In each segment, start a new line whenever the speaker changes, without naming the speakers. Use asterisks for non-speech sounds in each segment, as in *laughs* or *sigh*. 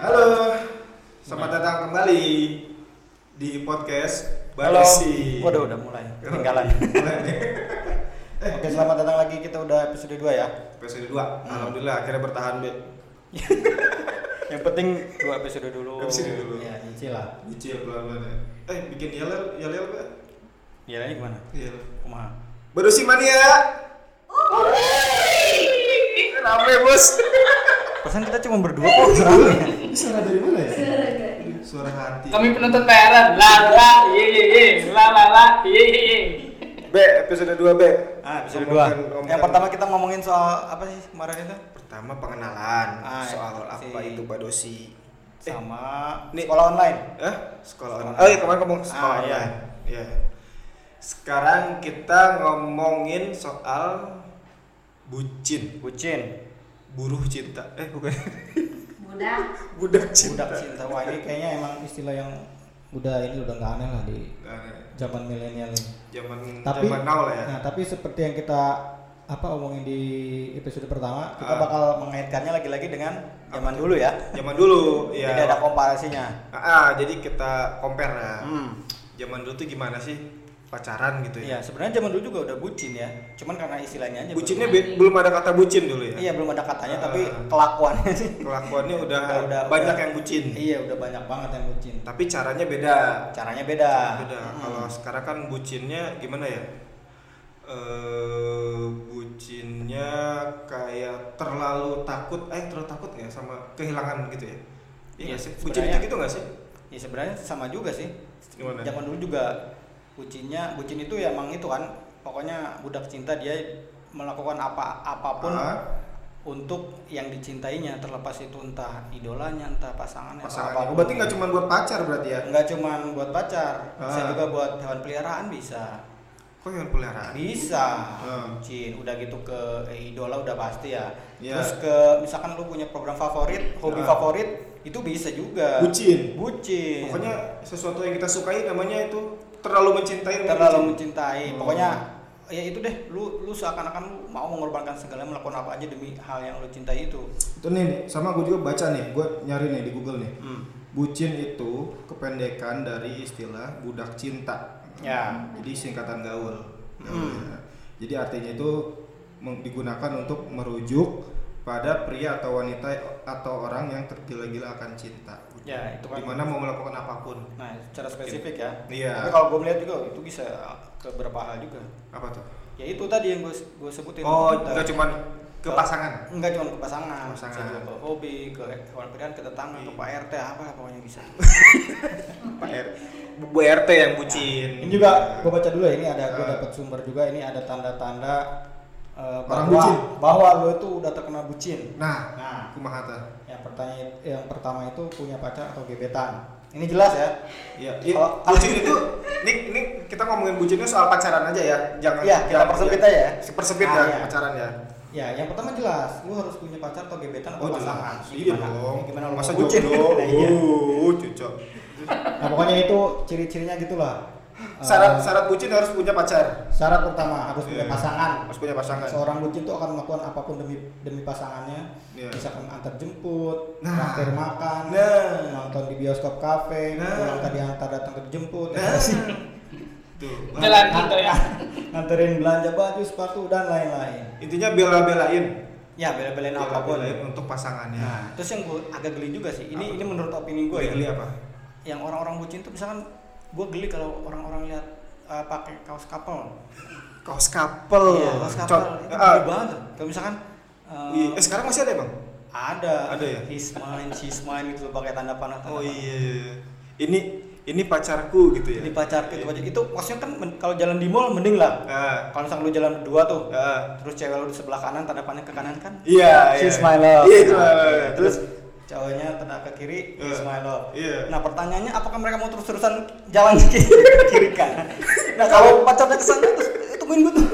Halo, selamat datang kembali di podcast
Halo.
Barisi.
Waduh udah mulai ketinggalan. Eh,
Mulai nih.
Oke selamat datang lagi kita udah episode 2 ya.
*laughs* Episode 2, Alhamdulillah akhirnya bertahan Be
Yang penting dua episode dulu.
Episode dulu.
Ya nyicil lah.
Bicil pelan-pelan ya Eh, bikin yel yel yel Be
Iya ini gimana?
Yel
Kumaha?
Barusi mania Rame bos
Pesan kita cuma berdua *laughs* kok. Ah, rame.
Suara dari mana ya?
Suara-
Suara hati
Kami penuntut bayaran. La la ye ye ye. La la la ye ye ye.
Be, episode 2 Be
Ah episode
Ngomongkan-
2
ngomongkan-
Yang pertama kita ngomongin soal apa sih kemarin itu?
Pertama pengenalan
Ah,
Soal
si-
apa itu Badosi
Sama
Nih.
sekolah online.
Eh, sekolah
Sekolah.
online. Oh iya, kemarin ngomong sekolah
Ah, iya.
online. Iya. Sekarang kita ngomongin soal bucin,
Bucin.
buruh cinta. Eh, bukan. *laughs*
Mudah.
Budak cinta.
Budak cinta. Wah ini kayaknya emang istilah yang udah ini udah nggak aneh lah di
Nah,
zaman milenial ini.
Zaman
tapi
zaman now lah ya.
nah tapi seperti yang kita apa omongin di episode pertama
Kita
Ah.
bakal mengaitkannya lagi-lagi dengan zaman dulu ya.
Zaman dulu, ya.
Jadi ada komparasinya.
Ah, ah, jadi kita compare lah.
Hmm.
Zaman dulu tuh gimana sih pacaran gitu ya?
Iya, sebenarnya zaman dulu juga udah bucin ya. Cuman karena istilahnya
Iya,
aja
Bucinnya
baru-
be- belum ada kata bucin dulu ya.
Iya, belum ada katanya
Ah.
tapi kelakuannya sih.
Kelakuannya udah,
Udah- udah-
banyak
udah.
yang bucin.
Iya, udah banyak banget yang bucin.
Tapi caranya beda.
Caranya beda.
beda
Mm-mm.
kalau sekarang kan bucinnya gimana ya eh bucinnya kayak terlalu takut eh terlalu takut ya sama kehilangan gitu ya iya
Iya,
nggak sih
sebenarnya-
bucin itu gitu nggak sih
ya sebenarnya sama juga sih.
Gimana?
Zaman dulu juga bucinnya bucin itu ya emang itu kan pokoknya budak cinta dia melakukan apa apapun
Ah,
untuk yang dicintainya terlepas itu entah idolanya entah pasangannya atau
pasangan
apapun.
Oh, berarti nggak cuma buat pacar berarti ya
nggak cuma buat pacar bisa
Ah.
juga buat hewan peliharaan bisa
kok yang peliharaan
bisa
Nah. Ah.
bucin udah gitu ke eh, idola udah pasti ya
Iya.
terus ke misalkan lu punya program favorit hobi
Ah.
favorit itu bisa juga
Bucin.
bucin
pokoknya sesuatu yang kita sukai namanya itu terlalu mencintai
terlalu
bucin.
mencintai
Hmm.
pokoknya ya itu deh lu lu seakan-akan lu mau mengorbankan segala melakukan apa aja demi hal yang lu cintai itu
itu nih, nih, sama gue juga baca nih gue nyari nih di Google nih
hmm.
bucin itu kependekan dari istilah budak cinta
ya
jadi singkatan gaul
Hmm.
Ya. jadi artinya itu meng- digunakan untuk merujuk pada pria atau wanita atau orang yang tergila-gila akan cinta
ya itu kan
dimana mau melakukan apapun
nah secara spesifik ya
Iya.
tapi kalau gue melihat juga itu bisa ke beberapa hal juga
apa tuh
ya itu tadi yang gue gue sebutin
oh
Kita-
nggak cuma ke pasangan
Enggak cuma ke pasangan,
Ke pasangan. Iya.
bisa juga ke hobi, ke hewan peliharaan, ke tetangga, ke Pak RT, apa lah pokoknya bisa.
Pak R Bu RT yang bucin Nah,
ini juga gue baca dulu ya ini ada gue
Ah.
dapat sumber juga ini ada tanda-tanda eh,
Orang
bahwa
bucin.
bahwa lo itu udah terkena bucin
nah
Nah,
kumaha tah?
yang pertanyaan yang pertama itu punya pacar atau gebetan
ini jelas ya.
Ya, i-
Kalau-
bucin itu ini ini kita ngomongin bucinnya soal pacaran aja ya. Jangan
Iya, kita persempit aja ya.
Persempit
Ah,
ya
iya.
pacaran ya.
Ya, yang pertama jelas, lu harus punya pacar atau gebetan atau pasangan. Ya,
Iya
Oh, Gimana?
dong.
Gimana lu
Masa
mau
*laughs*
bucin?
jomblo?
Nah, *laughs* iya.
Oh, cocok.
Nah, pokoknya itu ciri-cirinya gitulah. Eh,
*laughs* Syarat syarat bucin harus punya pacar.
syarat pertama harus punya
Iya.
pasangan.
Harus punya pasangan.
Seorang bucin tuh akan melakukan apapun demi demi pasangannya.
Iya.
Misalkan antar jemput,
Nah.
traktir makan,
Nah.
nonton di bioskop kafe,
Nah.
pulang tadi antar datang ke jemput, ya
Nah. *laughs* Tuh.
Jalan gitu ya.
*laughs* nganterin belanja baju, sepatu dan lain-lain.
Intinya bela-belain.
Ya, bela-belain apapun.
Iya, Bela-belain untuk pasangannya.
Nah, terus yang gue agak geli juga sih. Ini
Apa? Iya.
ini menurut opini gue
Gue
ya.
geli apa?
Yang orang-orang bucin tuh misalkan gue geli kalau orang-orang lihat eh, pakai kaos couple.
Kaos couple.
Iya, kaos couple.
Cot-
Itu
Oh, Ah,
geli banget. Kalau misalkan eh,
iya. Eh, sekarang masih ada, Bang?
ada
Ada ya?
his mine, she's mine gitu pakai tanda panah.
Oh
tanda panah.
iya. Ini ini pacarku gitu ya.
Jadi pacar gitu aja. Itu maksudnya kan men- kalau jalan di mall mending lah.
Nah,
Kalau misalkan lu jalan berdua tuh,
nah.
terus cewek lu di sebelah kanan tanda pandang ke kanan kan
Iya,
she's
iya.
my love
Iya, she's my love.
Nah, terus cowoknya tanda ke kiri she's
Iya.
my love
Iya.
nah pertanyaannya apakah mereka mau terus terusan jalan *laughs* ke kiri, ke kiri
*laughs*
kanan nah kalau pacarnya kesana terus eh, tungguin gue tuh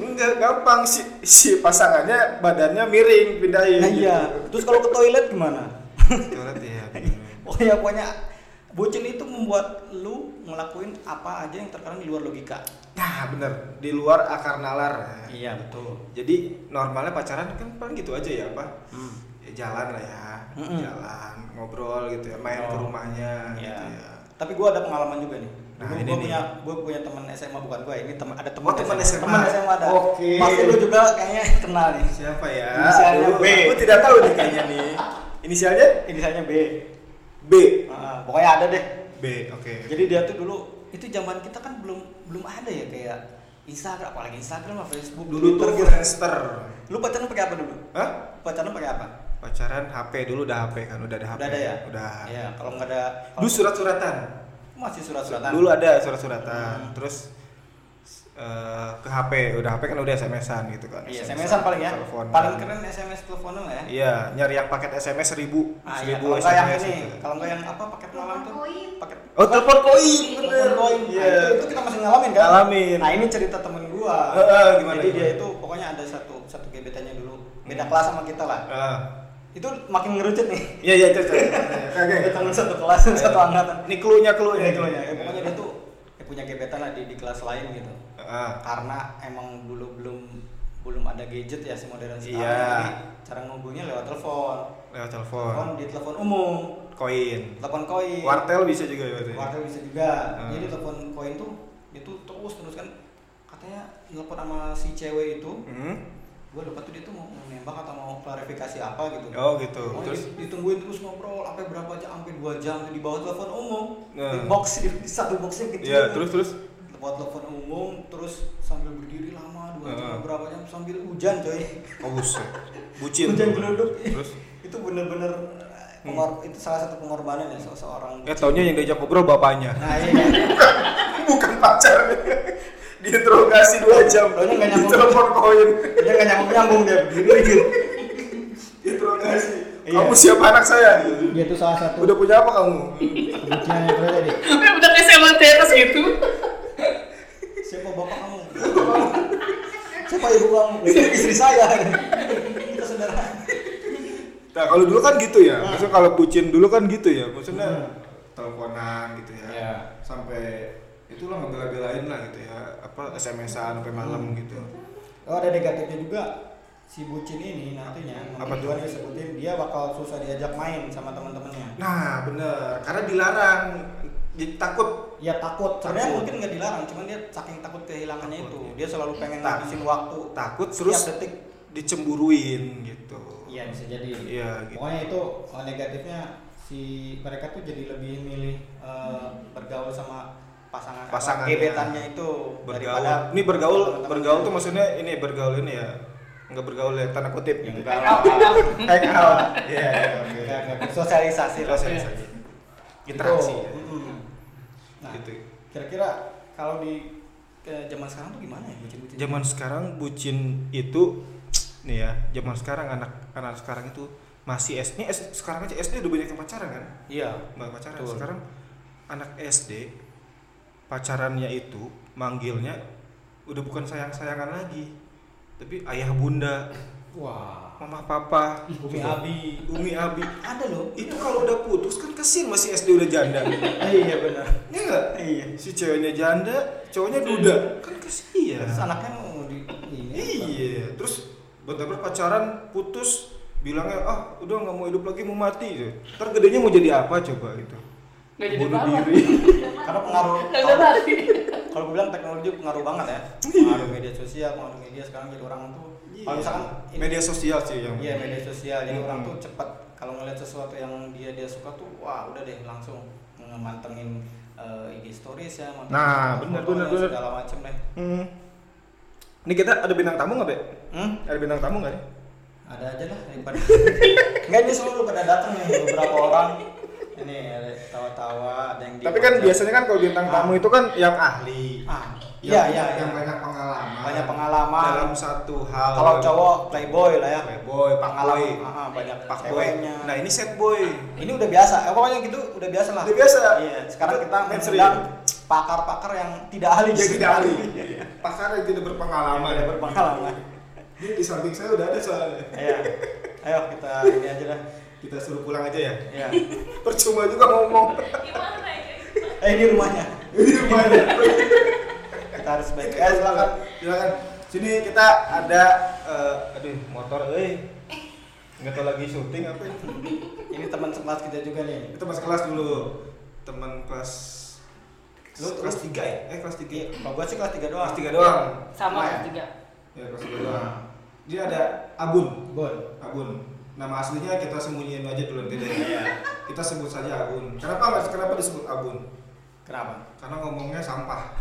Enggak gampang si si pasangannya badannya miring pindahin.
nah iya terus kalau ke toilet gimana
*laughs* Toilet ya. bener.
oh ya pokoknya bucin itu membuat lu ngelakuin apa aja yang terkadang di luar logika
Nah bener di luar akar nalar.
iya betul
Jadi normalnya pacaran kan paling gitu aja ya apa?
hmm.
Ya, jalan lah ya.
Mm-mm.
jalan ngobrol gitu ya main ke
Oh.
rumahnya gitu
Iya.
ya
Tapi gue ada pengalaman juga nih.
Nah,
Dulu
ini
gue
nih.
punya gue punya teman SMA bukan gue ini teman ada teman
Oh, teman SMA.
teman SMA ada.
Oke.
Pasti lu juga kayaknya *laughs* kenal nih.
siapa ya
Inisialnya
Aduh,
B.
aku tidak tahu nih kayaknya nih inisialnya
Inisialnya B.
B
Ah, pokoknya ada deh.
B oke
Jadi dia tuh dulu itu zaman kita kan belum belum ada ya kayak Instagram apalagi Instagram sama Facebook
dulu tuh
Twitter gitu.
Friendster
Lu pacaran pakai apa dulu?
Hah?
Pacaran pakai apa?
pacaran HP dulu udah HP kan udah ada HP
Udah ada ya?
udah
Iya, kalau nggak ada
dulu surat-suratan
masih surat-suratan.
dulu ada surat-suratan
Hmm.
terus eh, ke HP udah HP kan udah SMS-an gitu kan
Iya,
SMS-an,
SMS-an paling ya.
telepon.
Paling keren SMS teleponan lah ya.
iya nyari yang paket SMS seribu
Ah, iya,
seribu
kalau nggak yang
SMS
ini,
gitu.
kalau nggak yang apa paket malam tuh?
Koin.
Paket
oh telepon koin bener
Bener, koin. Nah,
Iya.
itu, itu kita masih ngalamin kan?
Ngalamin.
Nah, ini cerita temen gua.
Heeh, gimana,
Jadi dia
gimana?
itu pokoknya ada satu satu gebetannya dulu. Beda
Hmm.
kelas sama kita lah.
Ah.
Itu makin ngerucut nih.
iya iya itu
Kita
oke
temen satu kelas, satu angkatan.
ini clue-nya clue-nya
Iya, gitulah ya. Ya, Pokoknya dia tuh ya, punya gebetan lah di, di kelas lain gitu.
Ah.
Karena emang dulu belum belum ada gadget ya semodern sekarang.
Iya.
Jadi cara ngubungnya lewat telepon.
lewat
Telepon
telepon
di telepon umum,
koin
telepon koin.
wartel bisa juga ya berarti
wartel bisa juga
Hmm.
jadi telepon koin tuh itu terus terus kan katanya telepon sama si cewek itu
Hmm?
gue lupa tuh dia tuh mau mau nembak atau mau klarifikasi apa gitu
oh gitu
Pokoknya
terus
di- ditungguin terus ngobrol sampai berapa jam sampai dua jam tuh di bawah telepon umum
Nah.
di box di, di satu boxnya kecil
Iya, terus terus.
telepon telepon umum terus sambil berdiri lama dua jam
Nah.
berapa jam sambil hujan coy
Oh buset. Bucin.
hujan geluduk
Terus
*laughs*
Hmm.
itu bener-bener pengor- itu salah satu pengorbanan ya se- seorang
eh taunya yang diajak ngobrol bapaknya.
nah iya
Bukan pacar. Diinterogasi 2 jam.
Taunya nggak nyambung.
Telepon koin.
dia nggak nyambung nyambung dia berdiri
*laughs*
gitu
Interogasi.
Iya.
Kamu siapa anak saya?
dia tuh salah satu
Udah punya apa kamu?
kebencian yang terjadi
Udah kayak sama teras gitu.
siapa bapak kamu siapa ibu kamu itu istri saya kita saudara
Nah, kalau dulu kan gitu ya.
Nah.
Maksudnya kalau bucin dulu kan gitu ya. Maksudnya
teleponan gitu ya
Hmm. Iya.
sampai itulah ngebela-belain lah gitu ya
apa SMS-an sampai malam gitu.
oh ada negatifnya juga si bucin ini nantinya
Apa
apa tuan disebutin dia bakal susah diajak main sama teman-temannya
Nah, bener. Karena dilarang. Jadi takut.
ya takut sebenarnya
Takut.
mungkin nggak dilarang cuman dia saking takut kehilangannya
Takut,
itu
ya.
dia selalu pengen
Takut.
ngabisin waktu
Takut
setiap
terus
detik
dicemburuin gitu.
iya bisa jadi
Iya, gitu.
pokoknya itu uh, negatifnya si mereka tuh jadi lebih milih uh, bergaul sama pasangan apa,
Pasangannya.
gebetannya itu
iya. bergaul ini bergaul bergaul
gitu.
tuh maksudnya ini bergaul ini ya nggak bergaul ya tanda kutip
yang *laughs*
gitu.
enggak
hang out iya iya, oke. ya,
sosialisasi lah.
Sosialisasi.
Gitu.
interaksi ya.
Mm-mm. nah
gitu
kira-kira kalau di ke zaman sekarang tuh gimana ya bucin-bucin
zaman sekarang bucin itu nih ya zaman sekarang anak anak sekarang itu masih SD ini S- sekarang aja SD udah banyak yang pacaran kan
iya
nggak pacaran
Betul.
sekarang anak SD pacarannya itu manggilnya udah bukan sayang sayangan lagi tapi ayah bunda
wah
mama papa
Umi Abi
umi abi
ada loh
itu kalau udah putus kan kesian masih SD udah janda
iya benar
Iya nggak?
iya
Si ceweknya janda, cowoknya duda Kan kesian
terus anaknya mau di ini
Iya Terus bener-bener pacaran putus Bilangnya ah udah nggak mau hidup lagi mau mati gitu. Ntar gedenya mau jadi apa coba gitu
Nggak jadi
Bunuh
apa-apa.
diri
karena pengaruh
Nggak usah lari.
kalau gue bilang teknologi pengaruh banget ya pengaruh media sosial pengaruh media sekarang jadi orang tuh Iya. kalau misalkan ini-
Iya. Media sosial sih yang
iya media sosial jadi
Hmm.
orang tuh cepat kalau ngeliat sesuatu yang dia dia suka tuh wah udah deh langsung ngemantengin eh, IG stories ya mantengin
Nah,
foto-foto
bener, bener,
dan
bener.
segala macem deh
Hmm. Ini kita ada bintang tamu nggak Be?
hmm?
Ada bintang tamu nggak nih?
Iya, ada aja lah daripada *laughs* nggak ini selalu pada datang nih beberapa orang ini ada tawa-tawa ada yang di
Tapi kan
WhatsApp.
biasanya kan kalau bintang
Ah.
tamu itu kan yang ahli
ah
yang,
iya iya
yang
iya.
banyak pengalaman
banyak pengalaman
dalam satu hal.
kalau cowok playboy lah ya
Playboy,
pengalaman
fuckboy.
ah, ah, banyak
Pak boy.
ceweknya
Nah ini set boy.
ini udah biasa eh, pokoknya gitu udah biasa lah
Udah biasa.
iya sekarang kita
Mainstream.
mengundang pakar-pakar yang tidak ahli
Dia tidak ahli. Iya,
Iya, iya.
pasar yang tidak berpengalaman
Yang berpengalaman
Ini di samping saya udah ada soalnya
iya ayo kita ini aja dah
Kita suruh pulang aja ya.
iya
Percuma juga ngomong. Iya,
Gimana ya?
eh ini rumahnya
ini
Iya.
rumahnya
kita harus baik
Eh silakan, silakan. Sini kita ada eh aduh motor euy. nggak tahu lagi syuting apa ya.
ini teman sekelas kita juga nih
itu mas kelas dulu teman kelas
Lu
kelas tiga ya Iya. eh kelas tiga
Iya, kalau gua sih kelas 3 doang
kelas tiga doang
Sama
Sama ya?
kelas tiga.
Iya,
ya kelas tiga doang dia ada Abun
Bon
Abun nama aslinya kita sembunyiin aja dulu nanti deh
Iya
kita sebut saja Abun kenapa nggak- kenapa disebut Abun
Kenapa?
karena ngomongnya
*laughs*
sampah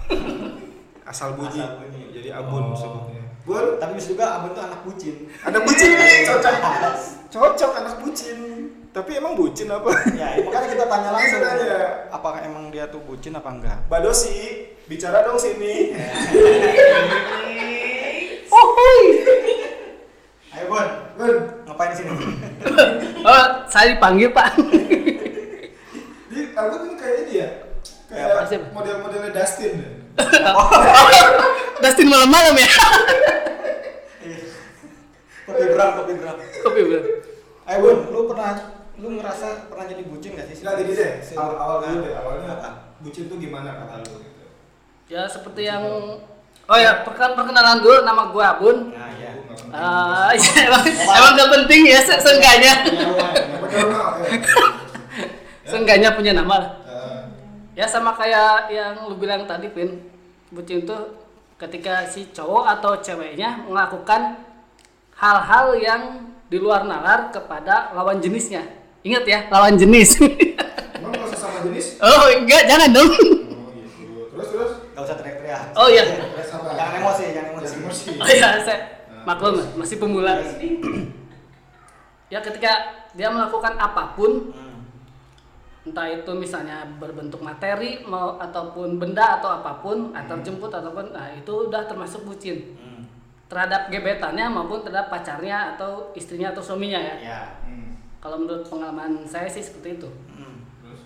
asal bunyi,
Asal bunyi.
jadi abun
Oh.
sebutnya
Bun
Tapi bisa juga abon tuh anak bucin
ada bucin nih cocok
Jelas.
cocok anak bucin tapi emang bucin apa
ya makanya kita tanya langsung
Kita tanya.
apakah emang dia tuh bucin apa enggak
Badosi bicara dong sini
Oh, hui.
ayo Bon
Bun
ngapain *laughs* di sini
oh, saya dipanggil Pak.
di Abun ini kayak ini ya
Kayak
kayak
apa
sih?
model-modelnya Dustin ya?
Dustin malam-malam ya.
kopi berang kopi berang
Kopi belum.
ayo Bon lu pernah lu ngerasa pernah jadi bucin gak sih
Nggak, jadi deh
Se-
awal awal
kan?
dulu deh awalnya
Apa?
bucin tuh gimana kata lu gitu
Ya seperti yang Oh ya, perken- perkenalan dulu nama gua Abun.
nah
Iya.
ya
Gua nggak penting.
Eh, *laughs* emang, emang gak penting ya se- seenggaknya
Punya rumah, ya.
Yang pakai rumah, ya.
Seenggaknya punya nama lah.
Eh,
Ya sama kayak yang lu bilang tadi Pin Bucin tuh ketika si cowok atau ceweknya melakukan hal-hal yang di luar nalar kepada lawan jenisnya Ingat ya, lawan jenis *laughs*
Emang kalau sesama jenis?
Oh enggak, jangan dong
Oh gitu. Terus terus?
gak usah teriak-teriak
Oh iya,
Terus apa?
jangan emosi jangan emosi
Jangan emosi.
oh iya, saya maklum masih pemula Ya ketika dia melakukan apapun
Hmm.
entah itu misalnya berbentuk materi mau ataupun benda atau apapun antar jemput ataupun nah itu udah termasuk bucin
Hmm.
terhadap gebetannya maupun terhadap pacarnya atau istrinya atau suaminya ya
ya
Hmm.
kalau menurut pengalaman saya sih seperti itu
Hmm.
Terus?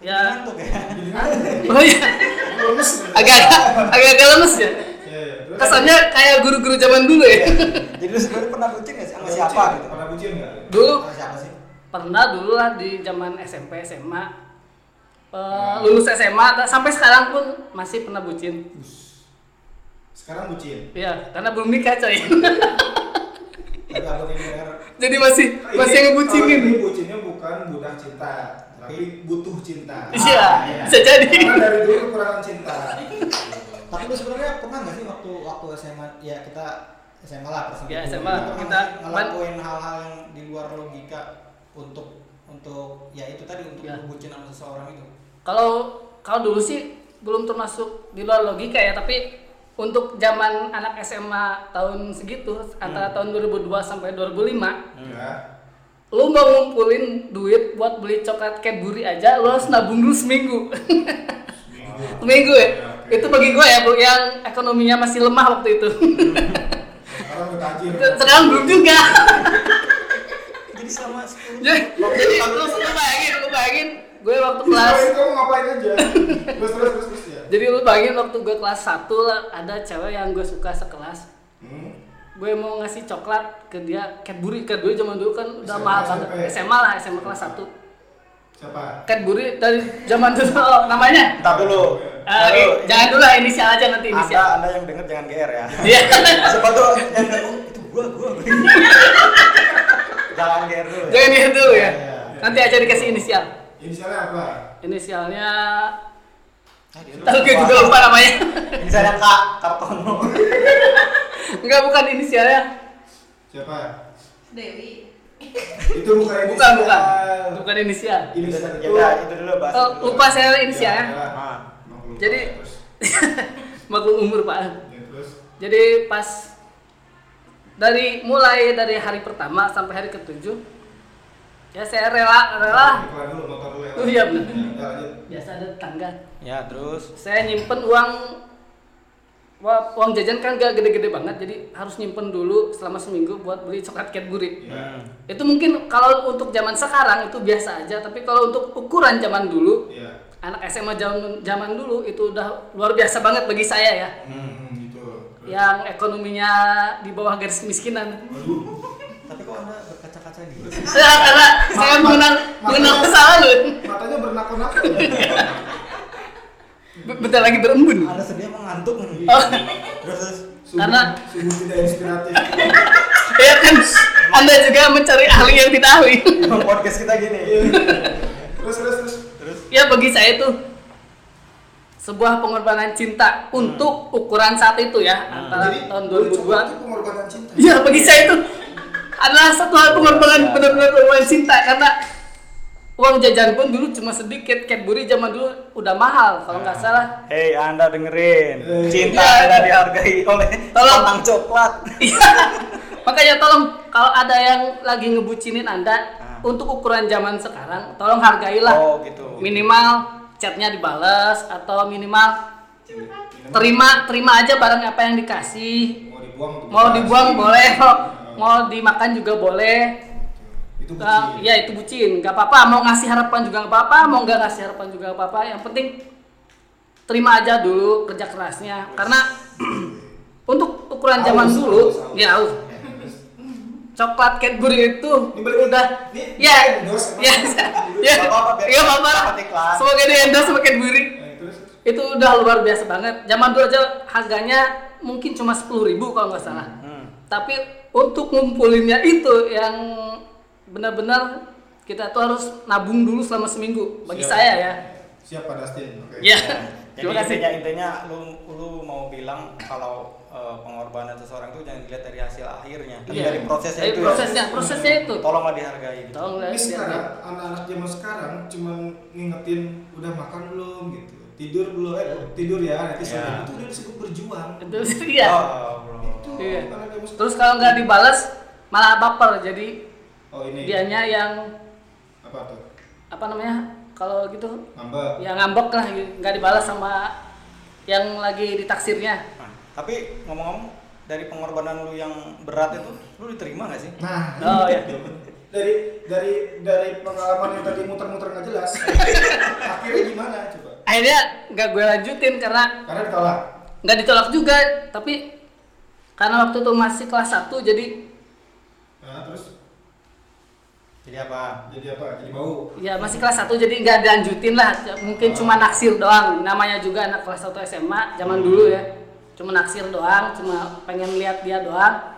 ya
ngantuk
*laughs*
ya
Jadi ngantuk.
oh iya
Lemes.
agak agak agak lemes ya
Iya, iya. Terus?
kesannya kayak guru-guru zaman dulu ya
jadi lu sebenarnya pernah bucin gak sih sama
Pernah
siapa
bucin?
gitu
Pernah bucin nggak?
dulu
sama siapa sih
pernah dulu lah di zaman SMP SMA Eh, lulus SMA sampai sekarang pun masih pernah bucin
Sekarang bucin.
ya karena belum nikah coy *laughs*
tapi aku ini denger
jadi masih
Ini-
masih ngebucinin
kalau Ini bucinnya bukan budak cinta, tapi butuh cinta. Ah,
iya
Ah,
iya.
bisa jadi *laughs*
Karena dari dulu kekurangan cinta.
Tapi lu sebenarnya pernah nggak sih waktu waktu SMA ya kita SMA lah persempit.
Ya,
dulu. Lu
SMA,
pernah
kita-
nggak sih ngelakuin hal-hal yang di luar logika untuk untuk ya itu tadi untuk
Ya.
ngebucin sama seseorang itu.
kalau kalau dulu sih belum termasuk di luar logika ya tapi untuk zaman anak SMA tahun segitu antara tahun 2002 sampai 2005
Ya.
lu mau ngumpulin duit buat beli coklat Cadbury aja lu harus nabung dulu seminggu *laughs* seminggu ya
Ya, oke.
itu bagi gue ya bu yang ekonominya masih lemah waktu itu *laughs*
Sekarang udah tajir.
sekarang belum juga
Jadi selama 10
jadi jadi lu lu bayangin lu bayangin gue waktu kelas
Ngapain kamu ngapain aja? Terus terus terus terus ya.
jadi lu bayangin waktu gue kelas 1 lah ada cewek yang gue suka sekelas
Hmm.
gue mau ngasih coklat ke dia Cadbury Cadbury zaman dulu kan udah
SMA,
mahal banget
SMP.
SMA lah SMA kelas 1
Siapa?
Cadbury dari zaman dulu *laughs* oh, namanya
Entar dulu.
Eh, oke, jangan dulu lah inisial aja nanti
Anda
inisial
Anda yang denger jangan GR ya.
iya *laughs*
Siapa tuh yang oh, itu gua gua. *laughs* gua." jangan GR dulu. Ya.
jangan lihat dulu ya
Iya.
nanti aja dikasih inisial
Inisialnya apa?
inisialnya
Ah, dia
tahu gitu gue juga lupa
*laughs*
namanya
Ini saya Kak Kartono.
enggak bukan inisialnya
Siapa?
Dewi
Itu bukan
bukan bukan
inisial.
bukan inisial
Inisial
Ya
itu.
udah, itu dulu bahas.
Oh, lupa saya
Iya.
inisialnya.
Ya, ya.
Ah.
Maklum.
Jadi-
terus.
Maklum umur Pak.
Ya, terus.
Jadi pas dari mulai dari hari pertama sampai hari ketujuh ya saya rela rela
Iklan dulu motor lu ya.
Oh, iya, bener.
Ya, udah, lanjut.
biasa ada tangga
Ya, terus
saya nyimpen uang wa- uang jajan kan gak gede-gede banget jadi harus nyimpen dulu selama seminggu buat beli coklat Cadbury
Ya.
Hmm.
itu mungkin kalau untuk zaman sekarang itu biasa aja tapi kalau untuk ukuran zaman dulu
Iya.
anak SMA zaman zaman dulu itu udah luar biasa banget bagi saya ya
Hmm, gitu. Terus.
yang ekonominya di bawah garis kemiskinan.
Waduh.
tapi kok Anda berkaca-kaca gitu?
Ya, karena saya mengenal mengenal kesalahan.
Matanya bernakon-nakon.
Be- Bentar lagi berembun.
Anda sedih emang ngantuk *laughs* nih.
Oh,
Terus terus
Sungguh-
Karena-
sungguh tidak inspiratif.
ya kan Anda juga mencari ahli yang tidak ahli.
podcast kita gini
terus terus terus
*laughs* ya bagi saya itu sebuah pengorbanan cinta untuk ukuran saat itu ya antara tahun
kulit coklat
2002
itu pengorbanan cinta
Ya bagi saya itu adalah satu hal pengorbanan benar-benar pengorbanan cinta karena uang jajan pun dulu cuma sedikit Cadbury zaman dulu udah mahal kalau nggak salah
Hei anda dengerin Cinta
Iya.
anda dihargai oleh
Tolong.
Tolong coklat
Iya. *laughs* makanya tolong kalau ada yang lagi ngebucinin anda untuk ukuran zaman sekarang tolong hargailah
Oh gitu
minimal chatnya dibales atau minimal terima terima aja barang apa yang dikasih
mau dibuang tuh
mau
bekas.
dibuang boleh mau, mau dimakan juga boleh
Gitu.
itu
Eh,
bucin
ya itu bucin, nggak apa-apa. Mau ngasih harapan juga nggak apa-apa, mau nggak ngasih harapan juga nggak apa-apa. Yang penting terima aja dulu kerja kerasnya. Karena *clears throat* untuk ukuran zaman
Aus,
dulu,
aus, aus.
ya aus. coklat Cadbury itu
Ini balik-
udah
ini-
ya
ini endorse,
*laughs* ya ya
Gak apa-apa, biar
ya apa
dapat iklan.
semoga di endorse sama Cadbury
Nah, terus terus.
itu udah luar biasa banget zaman dulu aja harganya mungkin cuma sepuluh ribu kalau nggak salah
Hmm.
tapi untuk ngumpulinnya itu yang benar-benar kita tuh harus nabung dulu selama seminggu bagi
Siap.
saya ya.
siap pada Dustin oke
Ya.
Jadi
Terima kasih.
intinya intinya lu lu mau bilang kalau eh, pengorbanan seseorang itu jangan dilihat dari hasil akhirnya, tapi
Iya.
dari prosesnya
Dari
itu.
prosesnya,
ya.
prosesnya itu.
Tolonglah dihargai. Gitu.
Tolong
Ini
lihat,
sekarang ya?
lihat.
anak-anak zaman sekarang cuma ngingetin udah makan belum gitu. Tidur belum eh tidur ya nanti sore
Ya.
itu udah disebut berjuang.
Terus, Iya.
Oh, bro.
Itu
Iya.
anak zaman sekarang.
Terus kalau nggak dibalas malah baper. Jadi
Oh ini
dianya yang
apa tuh?
apa namanya? Kalau gitu
Ngambek.
ya ngambek lah gitu. nggak dibalas sama yang lagi ditaksirnya.
Nah, tapi ngomong-ngomong dari pengorbanan lu yang berat itu, lu diterima gak sih?
Nah,
Oh,
ini
ya.
tuh. *laughs* dari dari dari pengalaman yang tadi muter-muter nggak
*laughs*
jelas. akhirnya gimana coba?
Akhirnya nggak gue lanjutin karena
Karena ditolak.
nggak ditolak juga tapi karena waktu itu masih kelas 1 jadi
Nah, terus
Jadi apa?
jadi apa? Jadi bau.
ya masih kelas 1 jadi nggak dilanjutin lah mungkin cuma naksir doang namanya juga anak kelas 1 SMA zaman dulu ya cuma naksir doang cuma pengen lihat dia doang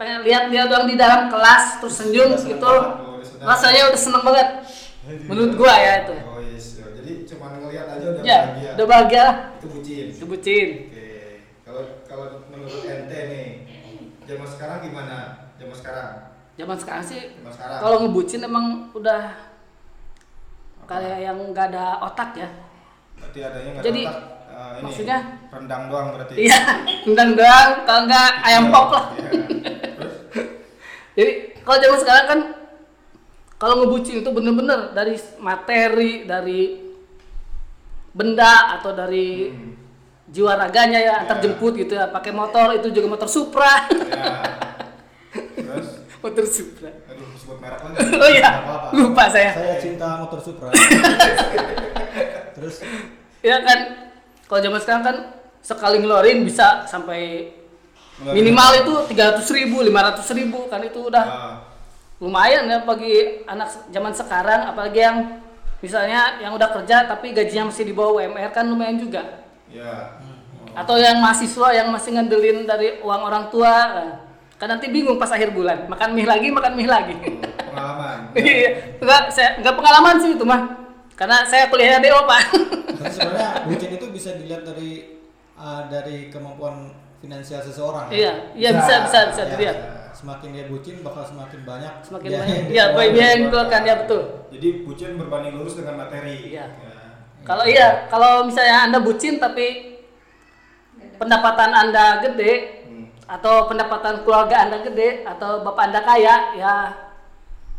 pengen lihat dia doang di dalam kelas terus senyum
Udah seneng
gitu
banget,
Oh, udah sedap.
rasanya udah seneng banget menurut gua ya itu
Oh, yes. Jadi cuma ngelihat aja udah
ya
bahagia.
udah bahagia lah
Itu bucin.
Itu bucin
Oke, kalau kalau menurut ente nih, zaman sekarang gimana? Zaman sekarang,
zaman sekarang sih
zaman sekarang.
kalau ngebucin emang udah kayak yang nggak ada otak ya
berarti adanya nggak
Jadi,
ada otak, eh, ini,
maksudnya?
rendang doang berarti.
Iya, rendang doang, kalau enggak ayam pop lah.
Iya. Terus,
Jadi kalau zaman sekarang kan kalau ngebucin itu bener-bener dari materi, dari benda atau dari
Hmm,
jiwa raganya ya antar
Ya.
jemput gitu ya pakai motor itu juga motor
*laughs*
Supra
ya. Terus,
motor Supra
aduh sebut merek lagi.
*laughs* oh iya
Nggak apa-apa.
lupa saya
Saya cinta motor Supra. Terus
ya kan kalau zaman sekarang kan sekali ngeluarin bisa sampai
Ngeluarin
minimal itu 300.000 ribu 500 ribu kan itu udah
Ah,
lumayan ya bagi anak se- zaman sekarang apalagi yang misalnya yang udah kerja tapi gajinya masih di bawah UMR kan lumayan juga
ya.
atau yang mahasiswa yang masih ngandelin dari uang orang tua eh, kan nanti bingung pas akhir bulan makan mie lagi makan mie lagi *laughs*
Pengalaman.
Iya, nggak saya nggak pengalaman sih itu mah karena saya kuliahnya DO pak *laughs*
Tapi sebenarnya bucin itu bisa dilihat dari uh, dari kemampuan finansial seseorang. ya.
iya iya bisa bisa bisa
Ya,
dilihat
ya.
Semakin dia bucin bakal semakin banyak.
semakin
dia- *laughs*
banyak iya
dikeluarkan,
baik dia yang
dikeluarkan.
dikeluarkan ya betul
Jadi bucin berbanding lurus dengan materi.
Iya.
Ya.
Kalau iya, kalau misalnya Anda bucin tapi pendapatan Anda gede
Hmm.
atau pendapatan keluarga Anda gede atau bapak Anda kaya, ya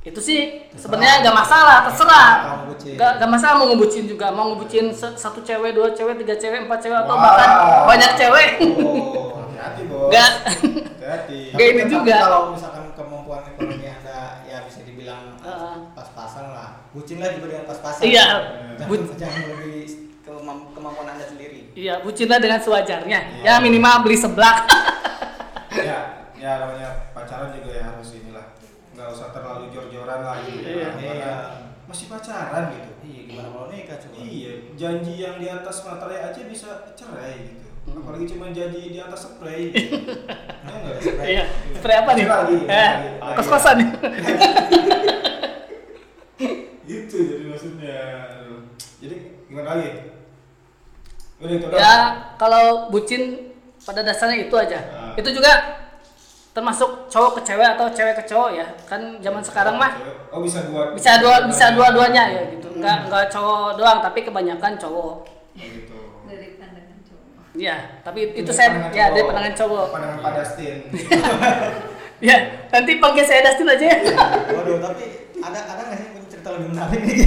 itu sih sebenarnya nggak masalah, terserah.
Mau ngebucin.
Nggak nggak masalah mau ngebucin juga, mau ngebucin se- satu cewek, dua cewek, tiga cewek, empat cewek atau
Wah.
bahkan banyak cewek.
Oh, hati-hati bos.
Nggak. *laughs*
Hati-hati.
Tapi
Kayak ini
tetap
juga.
Kalau misalkan kemampuan ekonomi anda ya bisa dibilang
Heeh.
pas-pasan lah. Bucin lah juga dengan pas-pasan. Nah,
Iya.
Jangan,
Bu-
jangan lebih
kemam- kemampuan anda sendiri.
Iya, bucinlah dengan sewajarnya. Ya minimal beli seblak.
ya ya namanya pacaran juga ya harus inilah nggak usah terlalu jor-joran lah gitu
Iya.
ya Karena masih pacaran gitu
Iya, gimana kalau nikah coba?
iya janji yang di atas materai aja bisa cerai gitu
Hmm.
apalagi cuma jadi di atas spray gitu.
*laughs*
Ya
Tahu nggak?
Iya. Spray apa nih?
*laughs*
Lagi,
Eh,
lagi.
kos-kosan nih.
gitu jadi maksudnya aduh. jadi gimana lagi udah itu
Ya,
doang.
kalau bucin pada dasarnya itu aja.
Ah.
Itu juga termasuk cowok ke cewek atau cewek ke cowok ya. Kan zaman sekarang mah
oh bisa dua
bisa dua bisa dua-duanya ya gitu. Enggak enggak cowok doang, tapi kebanyakan cowok.
Oh, gitu
dari pandangan cowok
Iya, tapi itu
Dari
saya
pandangan
ya dari
cowok.
pandangan cowok.
pandangan pada Stin
Ya, nanti panggil saya Dustin aja
*laughs*
ya.
Waduh, tapi ada ada nggak sih punya cerita lebih
*laughs*
menarik nih?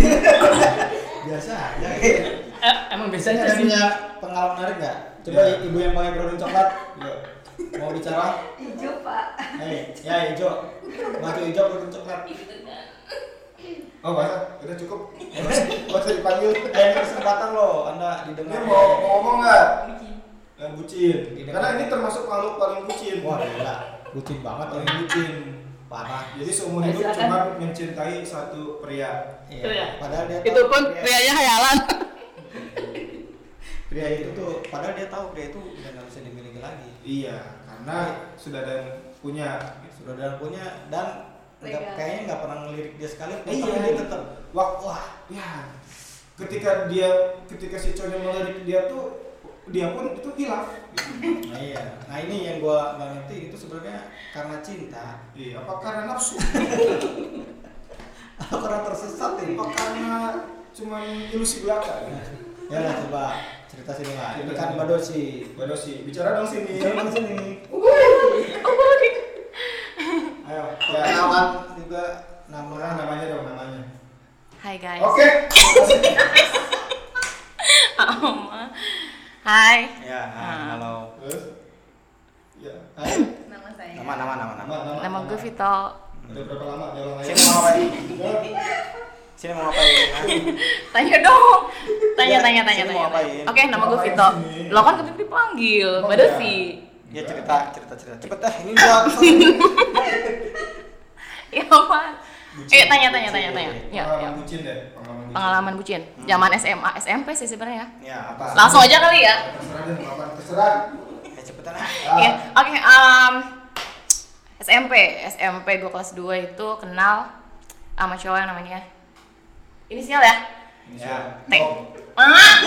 Biasa aja.
Eh, emang biasanya
ada
sih.
punya pengalaman menarik nggak? Coba
Iya.
ibu yang pakai kerudung coklat,
Iya.
mau bicara?
hijau pak
Eh, ya hijau, baju hijau kerudung
*laughs*
coklat.
oh masa udah cukup gak usah dipanggil
Eh, ini kesempatan loh, anda
ini
didengar.
mau, mau ngomong nggak
Uji.
yang bucin iya. karena ini termasuk makhluk paling bucin
Wah, gila, bucin banget
paling
ini,
bucin
parah.
jadi seumur
Ayo,
hidup
silakan.
cuma mencintai satu pria
Itu ya.
Iya, padahal dia
Itu
tahu
pun
pria-
prianya hayalan.
Pria itu tuh, padahal dia tahu pria itu udah nggak bisa dimiliki lagi.
iya karena sudah ada yang punya gitu.
Sudah dan punya dan nggak-
Legal.
kayaknya nggak pernah ngelirik dia sekalipun,
Iya.
tapi dia tetap
wah wah ya ketika dia ketika si cowoknya melirik dia tuh dia pun itu hilaf
Nah, iya. Nah ini yang gua nggak ngerti itu sebenarnya karena cinta
iya apa karena nafsu
atau karena tersesat ya? ini.
apa karena cuman ilusi belaka gitu.
Ya lah coba cerita sini lah. Ini
Cerita
kan
sini.
Mbak si
Mbak Dosi, bicara dong sini
Ini kan sini.
ayo ya
Pengalaman juga
orang
namanya
namanya dong namanya
Hai guys.
oke
Ama. *laughs* Hai.
Ya,
Ah.
halo.
terus ya
nama saya
Nama nama nama nama.
Nama gue Vito.
udah berapa lama ya? jalan aja
Sini mau ngapain? Sini mau ngapain? *laughs*
Tanya dong. Tanya
Ya,
tanya tanya
sini
tanya.
mau
tanya.
ngapain?
Oke, nama
Iya.
gue
Ngapain
Vito.
sini?
Lo kan tadi dipanggil,
Oh,
Mbak
iya.
Desi.
Ya cerita cerita cerita. Cepet dah ini gua.
Iya, apaan? Eh, tanya tanya tanya tanya. Ya, ya.
pengalaman bucin deh pengalaman bucin
Pengalaman bucin. Zaman SMA, SMP sih sebenarnya.
Ya apa?
Langsung aja kali ya.
terserah deh apa terserah
Ya cepetan ah.
Ah,
Iya. Oke, em, SMP, SMP gue kelas 2 itu kenal sama cowok yang namanya inisial ya? *laughs*
ini
Ya.
siapa?
T.
Oh,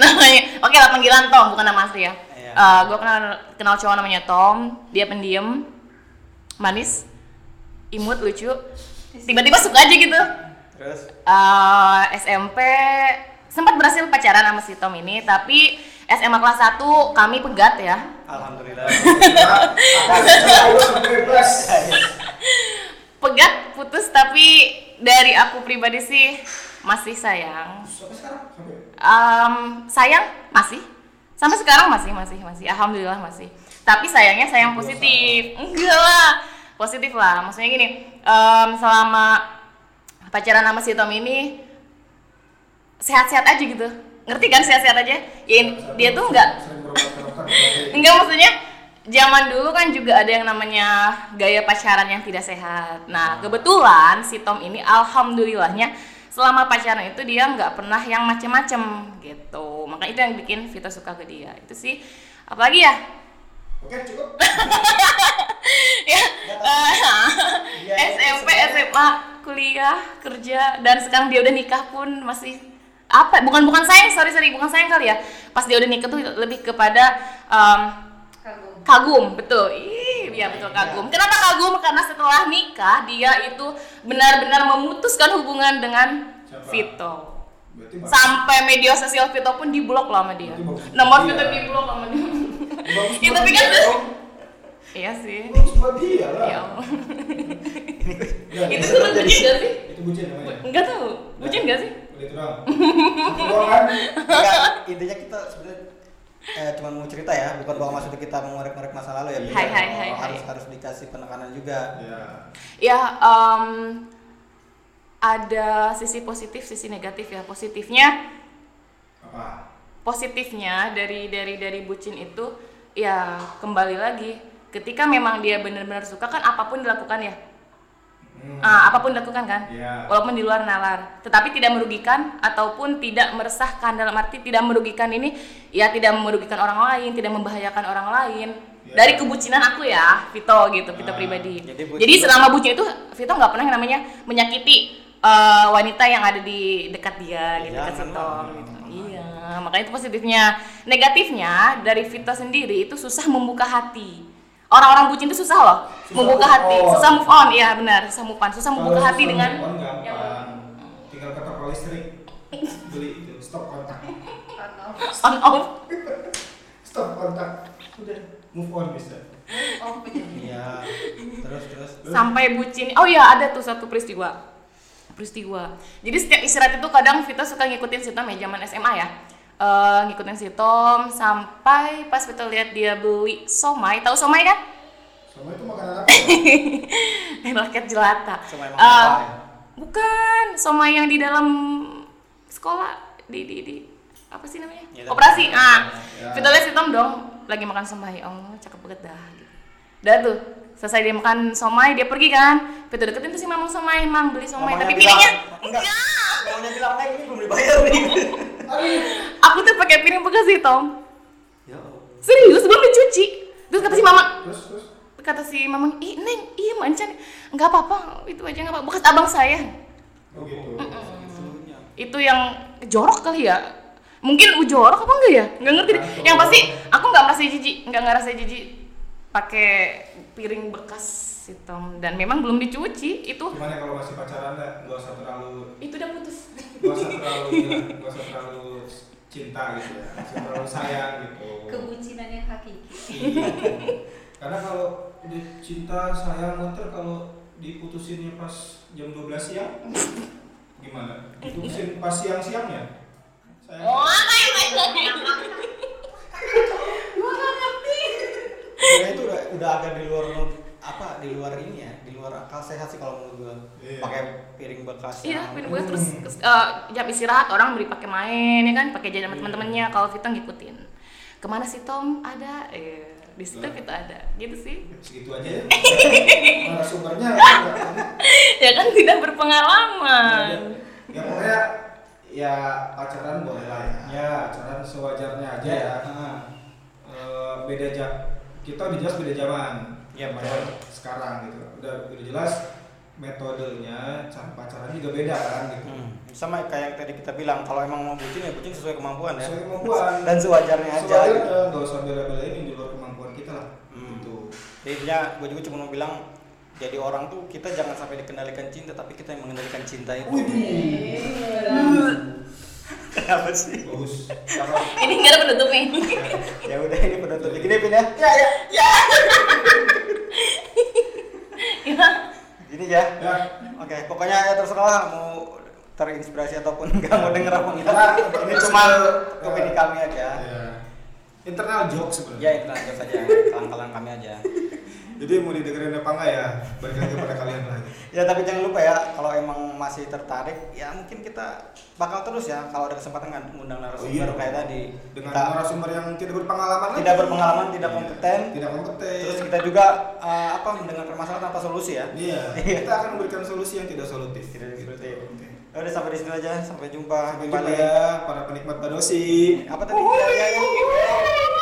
namanya oke lah panggilan Tom bukan nama asli ya
Iya.
Eh, gue kenal kenal cowok namanya Tom dia pendiam manis imut lucu tiba-tiba suka aja gitu
Terus
Eh, SMP sempat berhasil pacaran sama si Tom ini tapi SMA kelas 1 kami pegat ya
alhamdulillah. *laughs*
pegat putus tapi dari aku pribadi sih masih sayang
sampai sekarang sampai
Em, sayang masih sampai sekarang masih masih masih alhamdulillah masih tapi sayangnya sayang positif enggak lah positif lah maksudnya gini em, selama pacaran sama si Tom ini sehat-sehat aja gitu ngerti kan sehat-sehat aja ya in- dia tuh enggak
sering berobat ke dokter berarti.
Enggak maksudnya zaman dulu kan juga ada yang namanya gaya pacaran yang tidak sehat. Nah kebetulan si Tom ini alhamdulillahnya selama pacaran itu dia nggak pernah yang macem-macem gitu. Makanya itu yang bikin Vito suka ke dia. Itu sih apalagi ya? *laughs*
oke cukup
ya
Dia itu
SMP,
sebenarnya-
SMA, kuliah, kerja dan sekarang dia udah nikah pun masih apa? Bukan bukan sayang, sorry sorry, bukan sayang kali ya. Pas dia udah nikah tuh lebih kepada em,
kagum
kagum betul Ih, iya betul kagum kenapa kagum karena setelah nikah dia itu benar-benar memutuskan hubungan dengan
Siapa?
Vito
berarti
sampai media sosial Vito pun diblok loh sama dia
Itu bagus.
nomor
Iya.
Vito diblok sama dia *laughs*
bagus
itu
buat
pikir-
dia
*laughs*
dong.
iya sih
bagus buat dia lah
ya Allah.
Ya,
itu
ya.
seru bucin gak sih
itu bucin namanya
enggak tahu bucin gak sih
udah itu doang Itu doang kan
*laughs*
Enggak, intinya kita sebenarnya eh, cuma mau cerita ya, bukan bahwa maksudnya kita mengorek-ngorek masa lalu ya.
Hai,
Biar
hai,
orang
hai,
harus
hai.
harus dikasih penekanan juga.
ya
ya em, ada sisi positif sisi negatif ya positifnya
apa
positifnya dari dari dari bucin itu ya kembali lagi ketika memang dia benar-benar suka kan apapun dilakukan ya
Hmm.
Ah, apapun dilakukan kan
Iya.
walaupun di luar nalar tetapi tidak merugikan ataupun tidak meresahkan dalam arti tidak merugikan ini ya tidak merugikan orang lain tidak membahayakan orang lain
Iya.
dari kebucinan aku ya Vito gitu
Ah,
Vito pribadi
jadi
jadi,
bucin-
selama bucin itu Vito nggak pernah yang namanya menyakiti eh, wanita yang ada di dekat dia gitu dekat
jangan
Vito
lah,
gitu. iya makanya itu positifnya negatifnya dari Vito sendiri itu susah membuka hati orang-orang bucin itu susah loh membuka
move
hati
on.
susah move on ya benar susah move on susah membuka
Kalau
hati
susah
dengan
move on
yang
gampang. tinggal ketok
*laughs*
listrik beli itu stop kontak
Karena
on off
stop kontak udah move on bisa
oh
Iya. Terus terus.
sampai bucin oh ya ada tuh satu peristiwa peristiwa jadi setiap istirahat itu kadang Vito suka ngikutin Sitom ya zaman SMA ya Eh, ngikutin Sitom sampai pas Vito lihat dia beli somai tahu somai kan *laughs*
sama itu makanan apa
rakyat jelata
Somai makan
Eh,
apa ya?
bukan somai yang di dalam sekolah di di di apa sih namanya
Ya, dalam
operasi
sekolah.
ah
Ya.
Vito lihat Sitom dong lagi makan somai oh cakep banget dah gitu. Udah tuh selesai dia makan somai dia pergi kan Vito deketin tuh si mamang somai mang beli somai
Mamanya
tapi
bilang,
piringnya
enggak. Mamanya bilang, "Neng, ini belum dibayar nih."
aku tuh pakai piring bekas sih Tom
Ya Allah.
serius belum dicuci terus kata si mama
terus terus
kata si mamang ih neng iya mancan nggak apa-apa itu aja nggak apa bekas abang saya
oh gitu
Seluruhnya.
itu yang jorok kali ya mungkin jorok apa enggak ya nggak ngerti deh. yang pasti aku nggak merasa jijik nggak ngerasa jijik pakai piring bekas si Tom dan memang belum dicuci itu
gimana kalau masih pacaran nggak nggak usah terlalu
itu udah putus
nggak usah terlalu nggak usah terlalu cinta gitu ya nggak usah terlalu sayang gitu
kebucinan yang hakiki
Iya. karena kalau udah cinta sayang ntar kalau diputusinnya pas jam 12 siang gimana diputusin pas siang siangnya
oh
saya
kayak macam
Sebenarnya itu udah, udah agak di luar apa di luar ini ya, di luar akal sehat sih kalau menurut gua.
Iya.
Pakai piring bekas.
Iya,
yang-
pindah terus kes- eh, jam istirahat orang beri pakai main ya kan, pakai jajan sama teman-temannya. Kalau Vito ngikutin. Kemana sih Tom? Ada. Eh, di situ Vito ada. Gitu sih.
segitu aja ya Mana sumbernya Nggak-
ya kan tidak berpengalaman.
ya pokoknya ya pacaran boleh lah ya, pacaran sewajarnya aja ya Eh, beda ja kita udah jelas beda zaman
Iya,
pacaran sekarang gitu udah udah jelas metodenya cara pacaran juga beda kan gitu
Hmm. Sama kayak yang tadi kita bilang, kalau emang mau bucin ya bucin sesuai kemampuan ya.
Sesuai kemampuan.
Dan sewajarnya aja. gitu.
soalnya eh, nggak usah bela-belain yang di luar kemampuan kita lah
Hmm.
gitu
Jadi intinya gue juga cuma mau bilang jadi orang tuh kita jangan sampai dikendalikan cinta tapi kita yang mengendalikan cinta itu. *laughs* Apa sih?
bagus Cakep.
Ini nggak ada penutup nih. *laughs*
ya udah ini penutup gini pin ya. Ya ya. Gini ya.
ya
Oke, pokoknya ya terserah mau terinspirasi ataupun *laughs* enggak mau denger apa enggak.
Nah,
*laughs* Ini cuma opini kami aja.
ya. internal joke sebenarnya
Ya itu aja saja, kelang-kelang kami aja.
jadi mau didengerin apa enggak ya balik lagi kepada kalian lagi
Ya tapi jangan lupa ya kalau emang masih tertarik ya mungkin kita bakal terus ya kalau ada kesempatan kan ngundang
Oh,
narasumber
iya.
kayak tadi.
dengan
Kita-
narasumber yang tidak berpengalaman
tidak
lagi.
berpengalaman, tidak kompeten.
tidak kompeten
Terus kita juga eh, apa mendengar permasalahan tanpa solusi ya. *laughs*
iya kita akan memberikan solusi yang tidak solutif Gitu.
Tidak solutif.
Oke.
Ya Udah sampai di sini aja, sampai jumpa. ya.
sampai
Kembali. Iya,
jumpa ya para penikmat badosi
Apa tadi? Ya, ya, ya.